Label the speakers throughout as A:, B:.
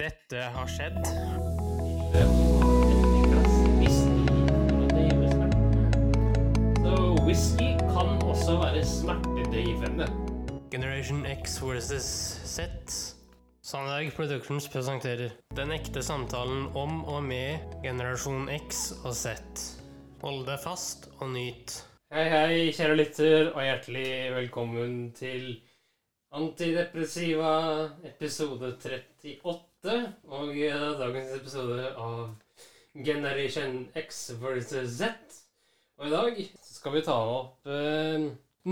A: Dette har skjedd.
B: Så whisky kan også være smertedrivende.
A: Generation X versus Z. Sandberg Productions presenterer Den ekte samtalen om og med generasjon X og Z. Hold deg fast og nyt.
B: Hei, hei, kjære lytter, og hjertelig velkommen til Antidepressiva episode 38. Og eh, dagens episode av Generation X versus Z. Og i dag så skal vi ta opp eh,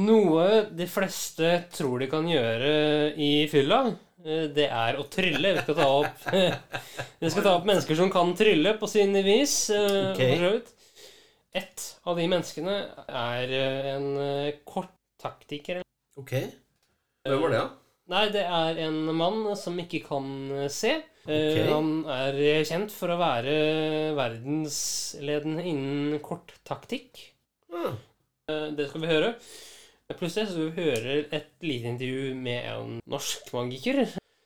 B: noe de fleste tror de kan gjøre i fylla. Eh, Det er å trylle. Vi skal ta opp, vi skal ta opp mennesker som kan trylle på sine vis. eh,
A: Ok.
B: for så vidt. Ett av de menneskene er eh, en eh, kort taktiker.
A: Ok.
C: Hvem var det, da?
B: Nei, det er en mann som ikke kan eh, se. Eh,
C: Ok.
B: Han er eh, kjent for å være verdensledende innen kort taktikk.
C: Ah,
B: Eh, Det skal vi høre. Pluss det så skal vi høre et lite intervju med en norsk magiker,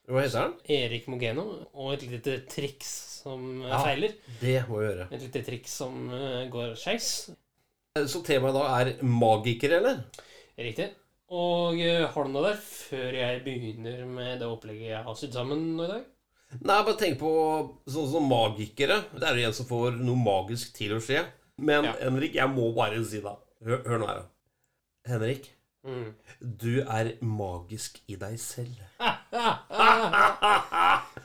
C: hva heter han?
B: Erik Mogeno, og et lite triks som eh,
C: Ja.
B: feiler.
C: Det må vi gjøre.
B: Et lite triks som eh, går skeis.
C: Eh, Så temaet da er magikere, eller?
B: Riktig. Og eh, har du noe der før jeg begynner med det opplegget jeg har sydd sammen nå i dag?
C: Nei, bare tenk på sånn som magikere. Det er jo en som får noe magisk til å skje. Men
B: Ja.
C: Henrik, jeg må bare si da Hør, hør nå her, da. Henrik,
B: Mm.
C: du er magisk i deg selv.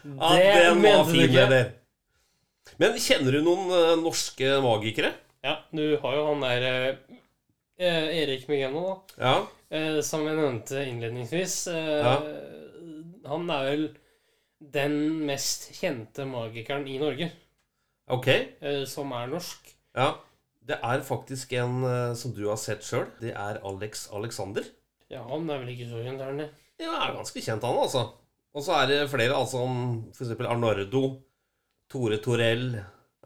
B: Det mente du ikke.
C: Leder. Men kjenner du noen eh, norske magikere?
B: Ja, du har jo han der eh, eh, Erik Megeno, da.
C: Ja.
B: Eh, som jeg nevnte innledningsvis, eh,
C: Ja.
B: han er vel den mest kjente magikeren i Norge,
C: Ok.
B: eh, som er norsk.
C: Ja. Det er faktisk en eh, som du har sett sjøl. Det er Alex Alexander.
B: Ja, han er vel ikke så kjent, er han det?
C: Ja, han er ganske kjent han, altså. Og så er det flere, altså om for eksempel Arnardo, Tore Torell.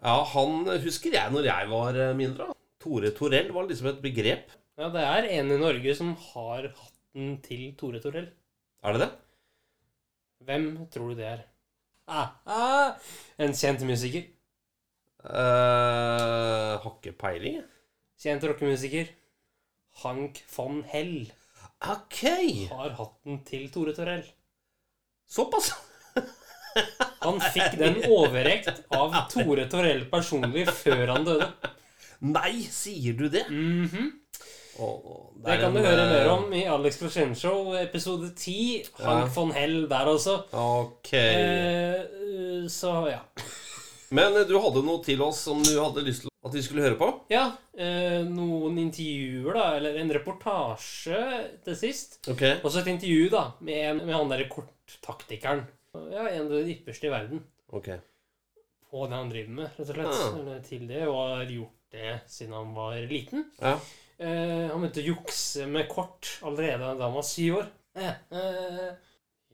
C: Ja, han husker jeg når jeg var eh, mindre. da. Tore Torell var liksom et begrep.
B: Ja, det er en i Norge som har hatten til Tore Torell.
C: Er det det?
B: Hvem tror du det er? Ah, ah, en kjent musiker.
C: Eh, har ikke peiling. jeg.
B: Kjent rockemusiker. Hank von Hell
C: Ok,
B: har hatten til Tore Torell.
C: såpass.
B: Han fikk den overrekt av Tore Torell personlig før han døde.
C: Nei, sier du det?
B: Mhm.
C: Å,
B: Det
C: er
B: kan du
C: en,
B: høre mer
C: eh,
B: om i Alex Brosjen Show, episode 10. Hank
C: Ja.
B: von Hell der også.
C: Ok.
B: Eh, eh, så ja.
C: Men eh, du hadde noe til oss som du hadde lyst til at vi skulle høre på?
B: Ja, eh, noen intervjuer, da, eller en reportasje til sist.
C: Ok.
B: Og så et intervju, da, med, en- med han derre korttaktikeren. Ja, en av de ypperste i verden
C: Ok.
B: på det han driver med, rett og slett.
C: Ja.
B: Eller til det, og har gjort det siden han var liten.
C: Ja.
B: Eh, han begynte å jukse med kort allerede da han var syv år. Eh, eh,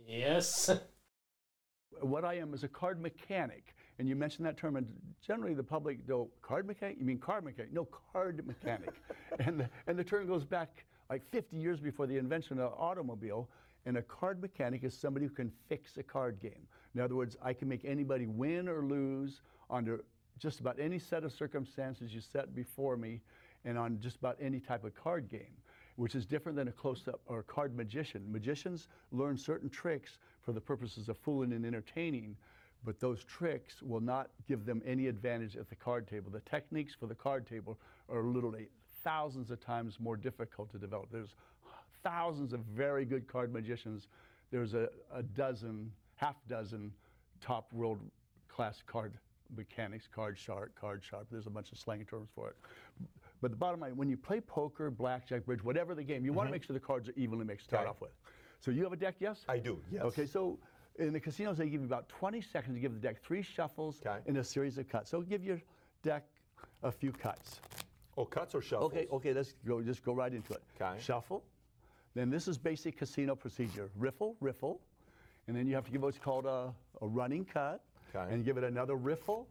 B: yes.
D: what I am is a card mechanic. And you mentioned that term, and generally the public go, card mechanic? You mean card mechanic? No, card mechanic. and, the, and the term goes back like 50 years before the invention of automobile. And a card mechanic is somebody who can fix a card game. In other words, I can make anybody win or lose under just about any set of circumstances you set before me and on just about any type of card game, which is different than a close up or a card magician. Magicians learn certain tricks for the purposes of fooling and entertaining, but those tricks will not give them any advantage at the card table. The techniques for the card table are literally thousands of times more difficult to develop. There's thousands of very good card magicians. There's a, a dozen, half dozen top world class card mechanics, card sharp, card sharp. There's a bunch of slang terms for it. But the bottom line, when you play poker, blackjack, bridge, whatever the game, you
E: Mm-hmm.
D: want to make sure the cards are evenly mixed to start off with. So you have a deck, yes?
E: I do, yes.
D: Okay, so in the casinos, they give you about 20 seconds to give the deck three shuffles
E: Okay.
D: and a series of cuts. So give your deck a few cuts.
E: Oh, cuts or shuffles?
D: Okay, okay, let's go, just go right into it.
E: 'Kay.
D: Shuffle. Then this is basic casino procedure. Riffle, riffle. And then you have to give what's called a, a running cut.
E: 'Kay.
D: And give it another riffle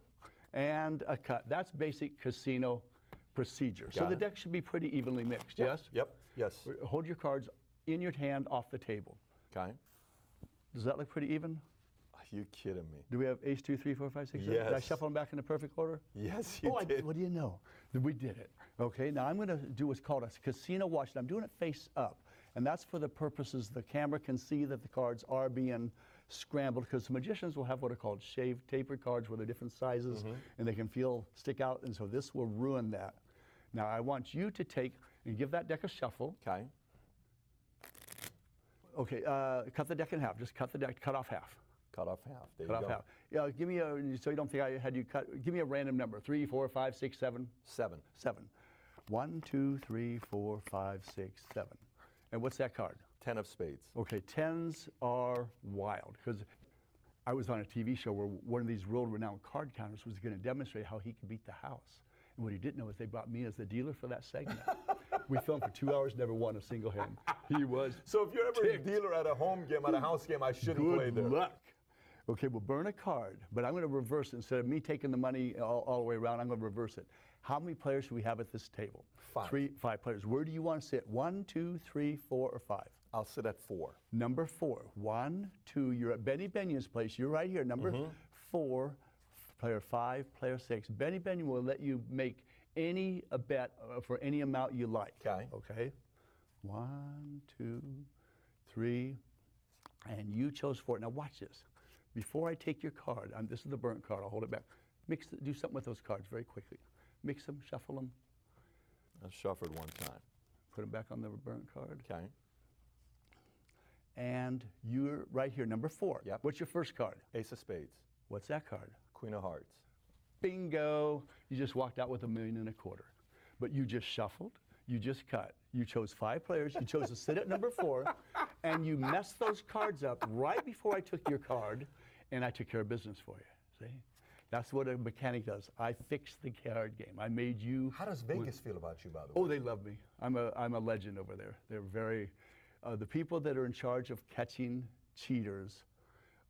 D: and a cut. That's basic casino procedure. so
E: Got
D: the
E: it.
D: deck should be pretty evenly mixed, yes?
E: Yep, yes.
D: R- Hold your cards in your hand off the table.
E: Okay.
D: Does that look pretty even?
E: You kidding me?
D: Do we have ace, two, three, four, five, six, seven? Did I
E: Yes.
D: shuffle them back into perfect order?
E: Yes, you
D: Oh, I,
E: did.
D: what do you know? We did it. Okay, now I'm going to do what's called a casino watch, and I'm doing it face up. And that's for the purposes the camera can see that the cards are being scrambled because magicians will have what are called shaved tapered cards where they're different sizes and they can feel stick out. And so this will ruin that. Now I want you to take and give that deck a shuffle.
E: Okay.
D: Okay, uh, cut the deck in half. Just cut the deck, cut off half.
E: Cut off half. There
D: Cut
E: you
D: off
E: go.
D: half. Yeah, give me a, so you don't think I had you cut, give me a random number three, four, five, six, seven.
E: Seven.
D: seven. One, two, three, four, five, six, seven. And what's that card?
E: Ten of spades.
D: Okay, tens are wild because I was on a TV show where one of these world-renowned card counters was going to demonstrate how he could beat the house. And what he didn't know is they brought me as the dealer for that segment. we filmed for two hours, never won a single hand. He was
E: So if you're ever
D: Ticked.
E: a dealer at a home game, at a house game, I shouldn't play
D: Good
E: there.
D: luck. Okay, we'll burn a card, but I'm going to reverse it. Instead of me taking the money all, all the way around, I'm going to reverse it. How many players should we have at this table?
E: Five.
D: Three, five players. Where do you want to sit? One, two, three, four, or five?
E: I'll sit at four.
D: Number four. One, two. You're at Benny Benyon's place. You're right here. Number
E: Mm-hmm.
D: four, f- player five, player six. Benny Benyon will let you make any a bet uh, for any amount you like.
E: 'Kay.
D: Okay. One, two, three, and you chose four. Now watch this. Before I take your card, um, this is the burnt card. I'll hold it back. Mix, th- do something with those cards very quickly. Mix them, shuffle them,
E: I shuffled one time.
D: put them back on the burnt card.
E: Okay.
D: And you're right here, number four.
E: Yep.
D: What's your first card?
E: Ace of spades.
D: What's that card?
E: Queen of hearts.
D: Bingo. You just walked out with a million and a quarter. But you just shuffled, you just cut, you chose five players, you chose to sit at number four, and you messed those cards up right before I took your card, and I took care of business for you. See? That's what a mechanic does. I fixed the card game. I made you.
E: How does Vegas feel about you, by the way?
D: Oh, they love me. I'm a, I'm a legend over there. They're very, uh, the people that are in charge of catching cheaters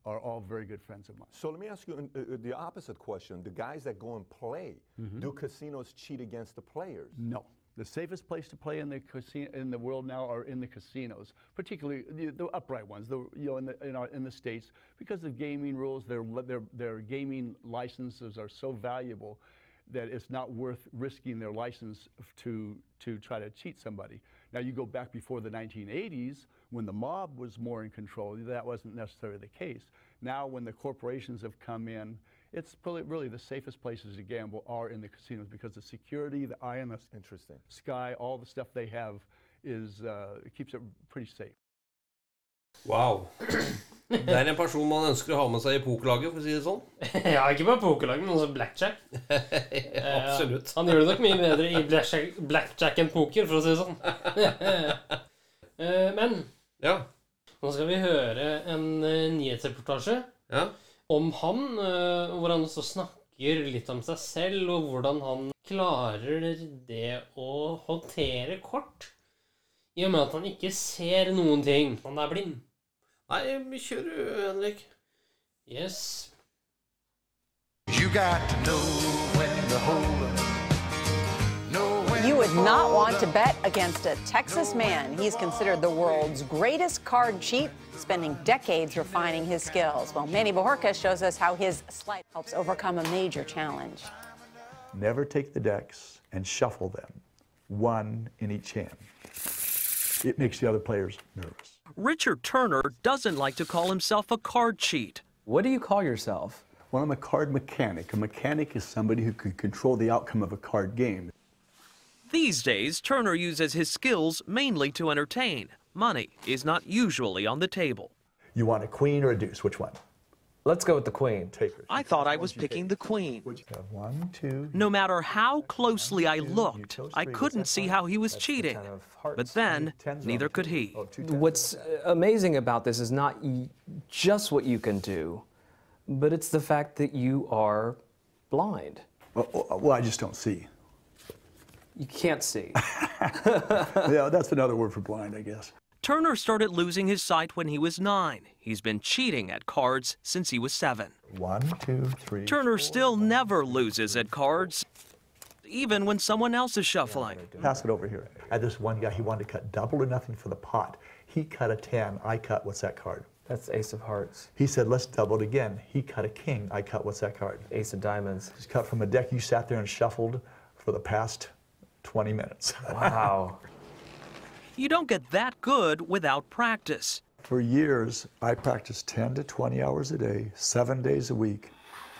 D: are all very good friends of mine.
E: So let me ask you uh, uh, the opposite question. The guys that go and play,
D: Mm-hmm.
E: do casinos cheat against the players?
D: No. The safest place to play in the casino, in the world now are in the casinos, particularly the, the upright ones, the, you know, in the, in, our, in the states, because of gaming rules. Their, li- their, their gaming licenses are so valuable that it's not worth risking their license f- to, to try to cheat somebody. Now, you go back before the 1980s when the mob was more in control, that wasn't necessarily the case. Now, when the corporations have come in, it's probably really the safest places to gamble are in the casinos because the security, the eye in the s-
E: Interesting.
D: sky, all the stuff they have is uh, keeps it pretty safe.
C: Wow. Det er en person man ønsker å ha med seg i pokerlaget, for å si det sånn.
B: ja, ikke bare pokerlag, men også blackjack. Eh,
C: Absolutt.
B: Han gjør det nok mye bedre i blackjack, blackjack enn poker, for å si det sånn. Eh, men
C: Ja.
B: nå skal vi høre en eh, nyhetsreportasje
C: ja.
B: om han, eh, hvor han også snakker litt om seg selv, og hvordan han klarer det å håndtere kort. I og med at han ikke ser noen ting. Han er blind.
C: Nei, vi kjører, Henrik.
B: Yes.
F: You got to know when to hold up. Know when
G: You would
F: to
G: not
F: fold
G: want to
F: up.
G: bet against a Texas man. He's considered the world's greatest card cheat, spending decades refining his skills. Well, Manny Bajorquez shows us how his sleight helps overcome a major challenge.
H: Never take the decks and shuffle them, one in each hand. It makes the other players nervous.
I: Richard Turner doesn't like to call himself a card cheat.
J: What do you call yourself?
D: Well, I'm a card mechanic. A mechanic is somebody who can control the outcome of a card game.
I: These days, Turner uses his skills mainly to entertain. Money is not usually on the table.
H: You want a queen or a deuce? Which one?
J: Let's go with the queen.
H: Takers.
I: I thought I was picking the queen.
H: What'd you have? One, two.
I: No matter how closely I
H: you
I: looked,
H: chose
I: I
H: three. Was
I: couldn't
H: that
I: see
H: fine?
I: how he was
H: That's the
I: cheating.
H: ten of hearts.
I: But then,
H: Two tens on
I: neither
H: it.
I: could he.
H: Oh, two tens.
J: What's uh, amazing about this is not y- just what you can do, but it's the fact that you are blind.
H: Well, oh, well, I just don't see.
J: You can't see.
H: yeah, that's another word for blind, I guess.
I: Turner started losing his sight when he was nine. He's been cheating at cards since he was seven.
H: One, two, three.
I: Turner still never loses at cards, even when someone else is shuffling.
H: Pass it over here. I had this one guy, he wanted to cut double or nothing for the pot. He cut a 10, I cut, what's that card?
J: That's ace of hearts.
H: He said, let's double it again. He cut a king. I cut what's that card?
J: Ace of diamonds.
H: Just cut from a deck you sat there and shuffled for the past 20 minutes.
J: Wow.
I: You don't get that good without practice.
H: for years, I practiced 10 to 20 hours a day, seven days a week,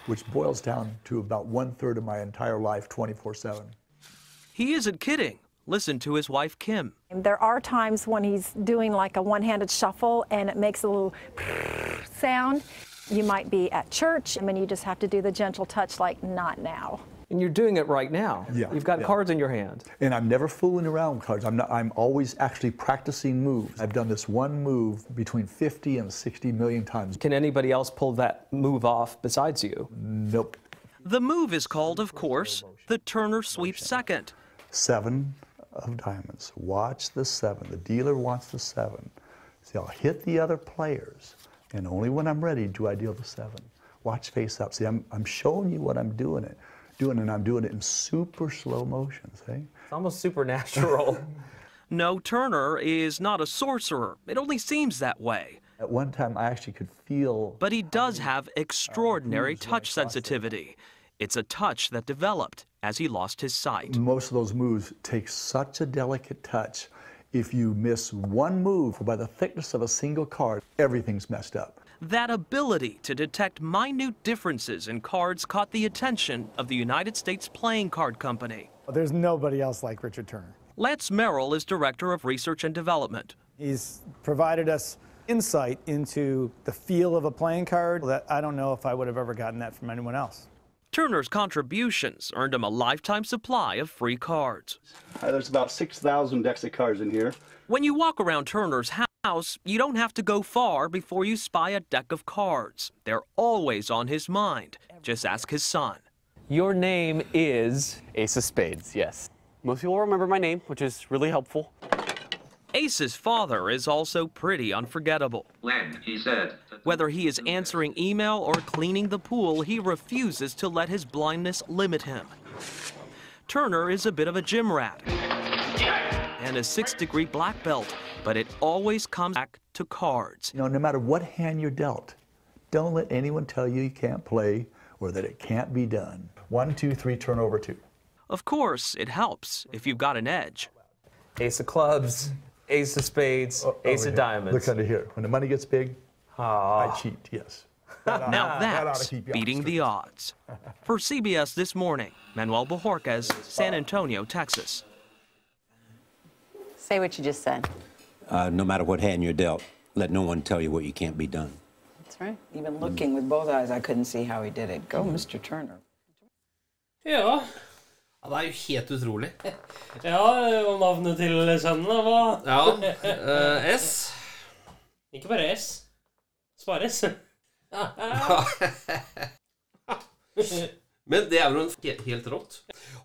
H: which boils down to about one third of my entire life, 24 7.
I: He isn't kidding. Listen to his wife, Kim.
K: There are times when he's doing like a one-handed shuffle and it makes a little sound. You might be at church and then you just have to do the gentle touch like not now.
J: And you're doing it right now.
H: Yeah,
J: You've got
H: yeah.
J: cards in your hand.
H: And I'm never fooling around with cards. I'm not. I'm always actually practicing moves. I've done this one move between 50 and 60 million times.
J: Can anybody else pull that move off besides you?
H: Nope.
I: The move is called, of course, the Turner sweep second.
H: Seven of diamonds. Watch the seven. The dealer wants the seven. See, I'll hit the other players, and only when I'm ready do I deal the seven. Watch face up. See, I'm, I'm showing you what I'm doing it, doing, and I'm doing it in super slow motion. See?
J: It's almost supernatural.
I: No, Turner is not a sorcerer. It only seems that way.
H: At one time, I actually could feel
I: But he does have extraordinary touch sensitivity. It's a touch that developed as he lost his sight.
H: Most of those moves take such a delicate touch. If you miss one move by the thickness of a single card, everything's messed up.
I: That ability to detect minute differences in cards caught the attention of the United States Playing Card Company.
L: There's nobody else like Richard Turner.
I: Lance Merrill is Director of Research and Development.
L: He's provided us insight into the feel of a playing card that I don't know if I would have ever gotten that from anyone else.
I: Turner's contributions earned him a lifetime supply of free cards.
M: Uh, there's about 6,000 decks of cards in here.
I: When you walk around Turner's house, you don't have to go far before you spy a deck of cards. They're always on his mind. Just ask his son.
N: Your name is Ace of Spades, yes. Most people remember my name, which is really helpful.
I: Ace's father is also pretty unforgettable.
O: When he said,
I: Whether he is answering email or cleaning the pool, he refuses to let his blindness limit him. Turner is a bit of a gym rat and a six degree black belt, but it always comes back to cards.
H: You know, no matter what hand you're dealt, don't let anyone tell you you can't play or that it can't be done. One, two, three, turn over two.
I: Of course, it helps if you've got an edge.
J: ace of clubs, ace of spades, ace
H: Over
J: of
H: here.
J: diamonds.
H: Look under here. When the money gets big, I cheat, yes.
I: Now
H: Ah, that ought
I: that's
H: to keep you out of
I: beating the odds. For CBS This Morning, Manuel Bajorquez, San Antonio, Texas.
G: Say what you just said.
P: Uh, no matter what hand you're dealt, let no one tell you what you can't be done.
G: That's right. Even looking with both eyes, I couldn't see how he did it. Go, Mr. Turner.
B: Ja.
C: Ja, det er jo helt utrolig.
B: ja, og navnet til sønnen, da, hva?
C: Ja, eh, S.
B: Ikke bare S. Spares.
C: Men det er jo en he- helt rått.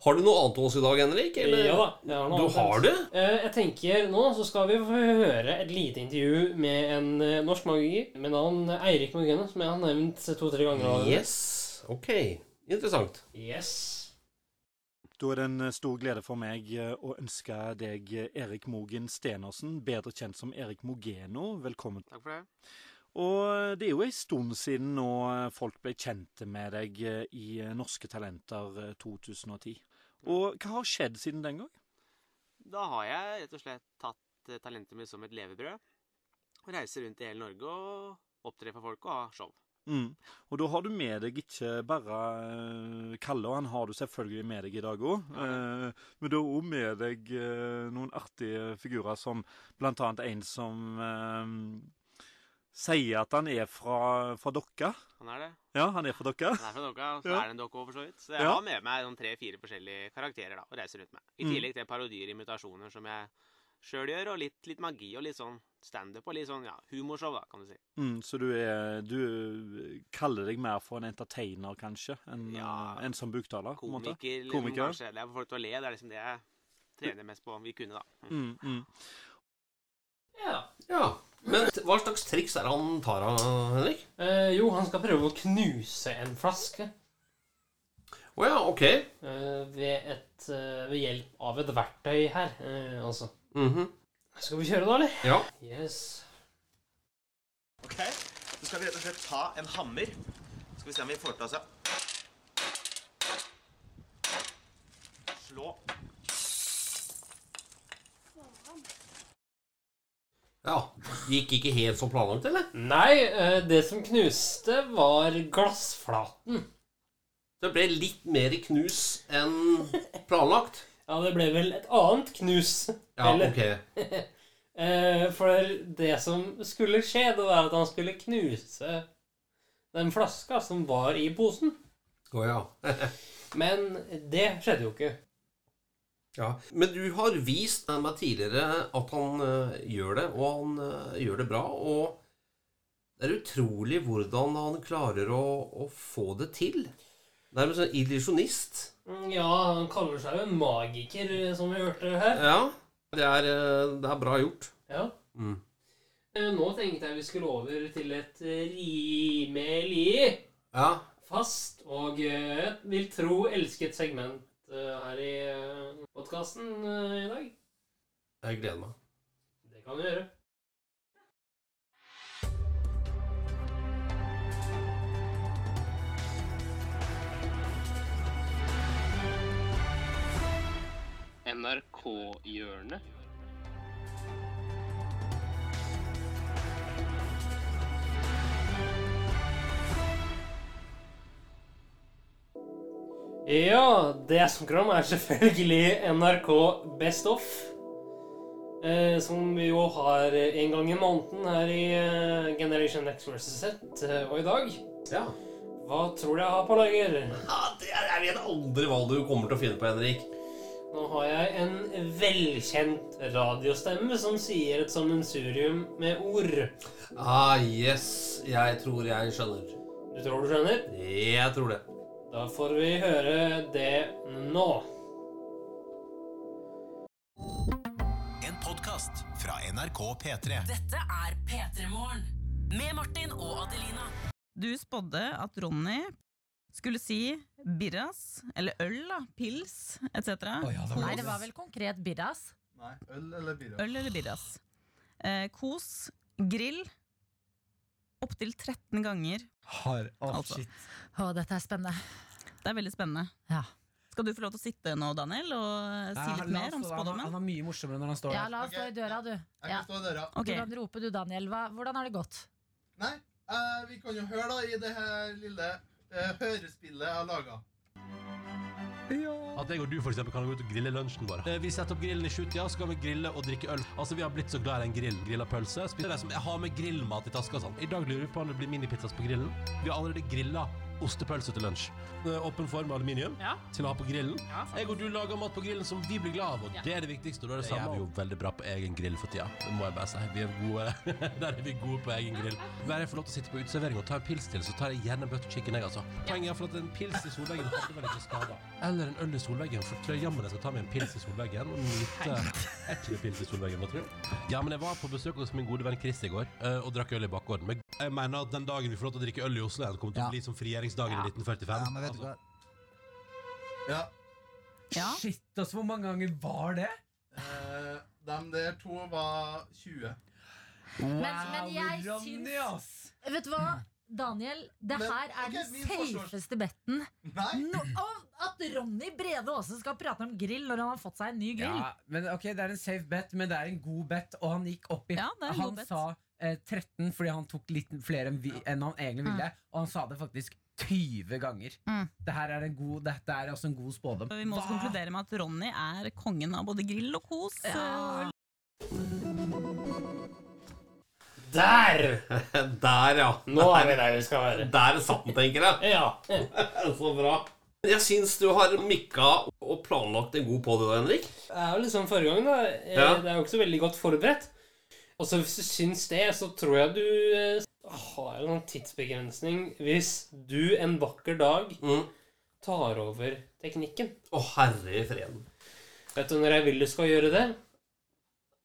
C: Har du noe annet til oss i dag, Henrik? eller?
B: Ja da. jeg noe annet.
C: du har det?
B: Eh, Jeg tenker Nå så skal vi få høre et lite intervju med en eh, norsk magiker med navn Eirik Mogene, som jeg har nevnt to-tre ganger. allerede.
C: Yes. Ok. Interessant.
B: Yes.
Q: Da er det en stor glede for meg eh, å ønske deg eh, Erik Mogen Stenersen, bedre kjent som Erik Mogeno, velkommen. Takk for det. Og det er jo en stund siden nå eh, folk ble kjente med deg eh, i eh, Norske Talenter eh, 2010. Og hva har skjedd siden den gang?
R: Da har jeg rett og slett tatt eh, talentet mitt som et levebrød. Og reiser rundt i hele Norge og opptrer for folk og har show.
Q: Mm. Og da har du med deg ikke bare eh, Kalle, og han har du selvfølgelig med deg i dag òg. men du har òg med deg eh, noen artige figurer, som blant annet en som eh, sier at han er fra, fra Dokka.
R: Han er det.
Q: Ja, han er fra Dokka.
R: Han er fra dokka, og så
Q: Ja.
R: er det en dokke over så vidt. Så jeg
Q: Ja.
R: har med meg sånn tre-fire forskjellige karakterer da, og reiser rundt med. I
Q: Mm.
R: tillegg til parodier og imitasjoner som jeg sjøl gjør, og litt, litt magi og litt sånn standup og litt sånn ja, humorshow, da, kan du si.
Q: Mm, så du, er, du kaller deg mer for en entertainer, kanskje, enn eh, en som buktaler? på en måte.
R: Komiker, liksom,
Q: Komiker.
R: kanskje. Det er for folk til å le. Det er liksom det jeg trener mest på om vi kunne, da.
Q: Mm, mm.
C: Ja. Men t- hva slags triks er det han tar av, Henrik?
B: Eh, jo, han skal prøve å knuse en flaske.
C: Å ja, ok.
B: Eh, ved, et, eh, ved hjelp av et verktøy her, eh, altså.
C: Mhm.
B: Skal vi kjøre da, eller?
C: Ja.
B: Yes.
O: Ok, Så skal vi rett og slett ta en hammer. Skal vi se om vi får til oss å slå
C: Ja. Mm. Gikk ikke helt som planlagt, eller?
B: Nei, eh, det som knuste, var glassflaten.
C: Det ble litt mer knus enn planlagt?
B: Ja, det ble vel et annet knus.
C: Ja,
B: eller?
C: ok.
B: Eh, For det som skulle skje, det var at han skulle knuse den flaska som var i posen.
C: Å ja.
B: Men det skjedde jo ikke.
C: ja. Men du har vist meg tidligere at han eh, gjør det, og han eh, gjør det bra. Og det er utrolig hvordan han klarer å, å få det til. Nærmest en illusjonist.
B: Mm, Ja, han kaller seg jo en magiker, eh, som vi hørte her.
C: Ja. Det er, eh, det er bra gjort.
B: Ja.
C: Mm.
B: Eh, Nå tenkte jeg vi skulle over til et eh, rimelig
C: Ja.
B: fast og eh, vil tro elsket segment eh, her i podkasten i dag.
C: Jeg gleder meg.
B: Det kan vi gjøre. NRK-hjørnet. Ja, det jeg snakker om, er selvfølgelig NRK Best Off. Eh, som vi jo har eh, en gang i måneden her i eh, Generation X vs. Z. Eh, og i dag Hva tror du jeg har på lager?
C: Jeg vet aldri hva du kommer til å finne på, Henrik.
B: Nå har jeg en velkjent radiostemme som sier et sammensurium med ord.
C: Ah, yes. Jeg tror jeg skjønner.
B: Du tror du skjønner?
C: Jeg tror det.
B: Da får vi høre det nå.
S: En podkast fra NRK P3.
T: Dette er P3 Morgen med Martin og Adelina.
U: Du spådde at Ronny skulle si birras, eller øl, da, pils etc.
V: Nei, det var vel konkret birras.
W: Nei, øl eller birra?
U: Øl eller birras. Eh, kos, grill, opptil 13 ganger.
W: Har
U: altså.
V: Å, dette er spennende.
U: Det er veldig spennende. Skal du få lov til å sitte nå, Daniel, og si
V: Ja,
U: litt
V: la
U: mer om
V: oss- han-
U: spådommen?
V: han
U: var mye morsommere når han
V: Ja, la oss stå i døra, du.
W: kan
V: Ja.
W: stå i døra.
V: Du
U: Ok.
V: kan rope, du, Daniel. Hva, hvordan har det gått?
W: Nei, eh, vi kan jo høre da i det her lille eh, hørespillet jeg har laga.
X: At jeg og du for eksempel kan gå ut og grille lunsjen vår. Eh, Vi setter opp grillen i sjutida, så kan vi grille og drikke øl. Altså, Vi har blitt så glad i en grill. Grilla pølse. Spiser det som jeg har med grillmat i taska og sånn. I dag lurer vi på om det blir minipizzas på grillen. Vi har allerede grilla ostepølse til lunsj. Eh, Åpen form av aluminium til å ha på grillen. jeg og du lager mat på grillen som vi blir glad av, og Ja. det er det viktigste. Og da er det, Det gjør samme vi jo veldig bra på egen grill for tida. Det må jeg bare si. Vi er gode. Der er vi gode på egen grill. Hver jeg får lov til å sitte på uteservering og ta en pils til, så tar jeg gjerne butter chicken, jeg, altså. Poenget er for at en pils i solveggen hadde vel ikke skada. Eller en øl i solveggen, for tror jeg jammen jeg skal ta meg en pils i solveggen og nyte ekle pils i solveggen, nå, tror jeg. Ja, men jeg var på besøk hos min gode venn Chris i går eh, og drakk øl i bakgården. Men jeg mener at den dagen vi får lov til å drikke øl i Oslo igjen, kommer til å bli som frigjøringsdagen i 1945.
W: Ja, men vet du hva? Ja.
Y: Shit, altså, hvor mange ganger var det?
W: Eh, de der to var 20.
V: Men, men jeg syns Vet du hva, Daniel? Det
W: Men,
V: her er
W: ok, min
V: den
W: forståelse-
V: safeste betten. No, og at Ronny Brede Aase skal prate om grill når han har fått seg en ny grill.
Y: Ja, men ok, Det er en safe bet, men det er en god bet. Og han gikk opp i
V: Ja, det er en god
Y: Han
V: bet.
Y: sa eh, 13 fordi han tok litt flere enn, vi, enn han egentlig ville. Og han sa det faktisk 20 ganger.
U: Mm.
Y: Det her er en god, dette er også en god spådom.
U: Vi må også konkludere med at Ronny er kongen av både grill og kos. og-
B: Der!
X: Altså.
C: Der, ja.
B: Nå er vi der vi skal være.
C: Der satt den, tenker jeg.
B: Ja.
C: Så bra. Jeg syns du har mikka og planlagt en god podi, Henrik.
B: Det er jo liksom forrige gang, da. Eh,
C: Ja.
B: Det er jo ikke så veldig godt forberedt. Og så hvis du syns det, så tror jeg du eh, har en sånn tidsbegrensning hvis du en vakker dag
C: Mm.
B: tar over teknikken.
C: Å, herre i freden.
B: Vet du når jeg vil du skal gjøre det?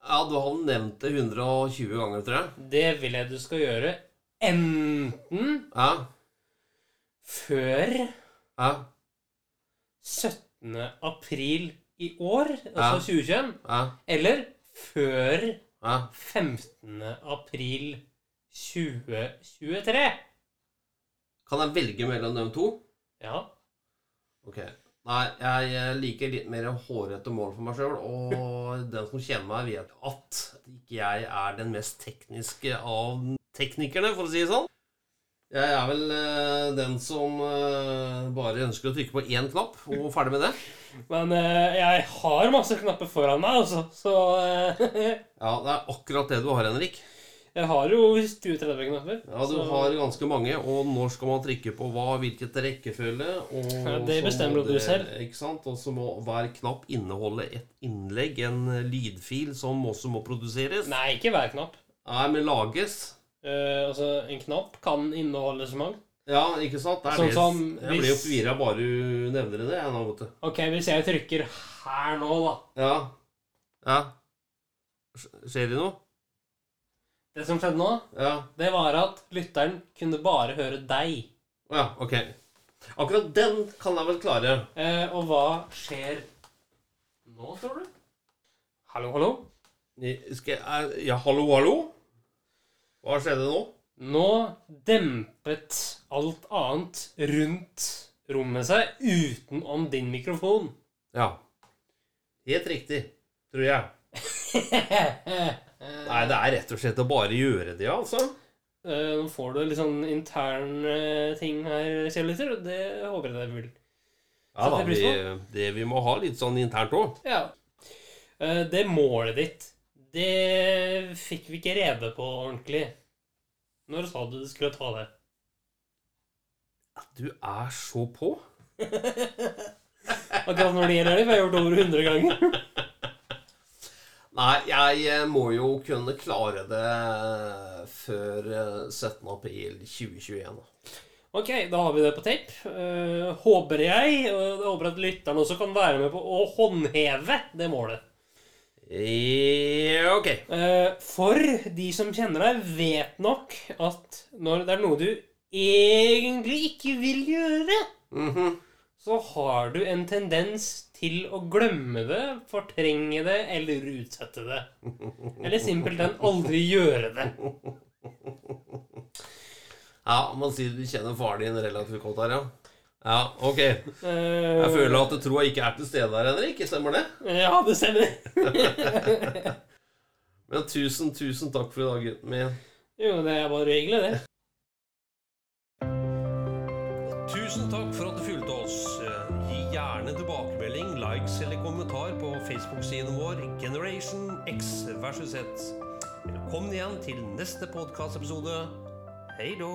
C: Ja, du har nevnt det 120 ganger, tror jeg.
B: Det vil jeg du skal gjøre enten
C: ja.
B: før
C: ja.
B: 17. april i år,
C: Ja.
B: altså 2021,
C: Ja.
B: eller før
C: Ja.
B: 15. april 2023.
C: Kan jeg velge mellom de to?
B: Ja.
C: Ok. Nei, jeg eh, liker litt mer hårete mål for meg sjøl. Og den som kjenner meg, vet at ikke jeg er den mest tekniske av teknikerne, for å si det sånn. Jeg er vel eh, den som eh, bare ønsker å trykke på én knapp, og ferdig med det.
B: Men eh, jeg har masse knapper foran meg, altså. Så eh,
C: Ja, det er akkurat det du har, Henrik.
B: jeg har jo 20-30 knapper.
C: Ja, Du
B: så-
C: har ganske mange, og når skal man trykke på hva, hvilket rekkefølge og
B: Ja, det
C: så må
B: bestemmer du
C: det-
B: selv.
C: Ikke sant? Og så må hver knapp inneholde et innlegg, en eh, lydfil, som også må produseres.
B: Nei, ikke hver knapp.
C: Nei, men lages.
B: Eh, altså, en knapp kan inneholde så mange.
C: Ja, ikke sant? Det er
B: Sånn
C: det.
B: som
C: Jeg blir jo
B: hvis-
C: forvirra bare du nevner det, jeg nå, vet du.
B: Ok, hvis jeg trykker her nå, da
C: Ja. ja. Sk- Skjer det noe?
B: Det som skjedde nå, det var at lytteren kunne bare høre deg.
C: Å ja, ok. Akkurat den kan jeg vel klare.
B: Eh, og hva skjer nå, tror du? Hallo, hallo?
C: Skal jeg, eh, ja, hallo, hallo? Hva skjedde nå?
B: Nå dempet alt annet rundt rommet seg utenom din mikrofon.
C: Ja. Helt riktig, tror jeg. Nei, det er rett og slett å bare gjøre det, ja, altså.
B: Eh, nå får du litt sånn interne ting her, kjærligheter, og det håper jeg deg vil.
C: Ja da,
B: Setter
C: vi,
B: pris på.
C: det vi må ha litt sånn internt òg.
B: Ja. Eh, Det målet ditt, det fikk vi ikke rede på ordentlig. Når sa du du skulle ta det?
C: Du er så på.
B: Akkurat når det gjelder det, for jeg har gjort det over 100 ganger.
C: Nei, jeg eh, må jo kunne klare det før eh, 17. april 2021. da.
B: Ok, da har vi det på tape. Eh, håper jeg, og jeg håper at lytteren også kan være med på å håndheve det målet.
C: Eh, ok.
B: Eh, for de som kjenner deg, vet nok at når det er noe du egentlig ikke vil gjøre,
C: Mhm.
B: så har du en tendens til å glemme det, fortrenge det eller utsette det. Eller simpelthen aldri gjøre det.
C: Ja, man sier du kjenner faren din relativt godt her, ja. Ja, ok. Jeg føler at troa ikke er til stede her, Henrik. Stemmer det?
B: Eh, Ja, det stemmer.
C: Men tusen, tusen takk for i dag, gutten min.
B: jo, det er bare regler, det.
C: Tusen takk for at du fulgte oss. Eh, Gi gjerne tilbakemelding, likes eller kommentar på Facebook-siden vår Generation X versus 1. Velkommen igjen til neste podkastepisode. Hei då!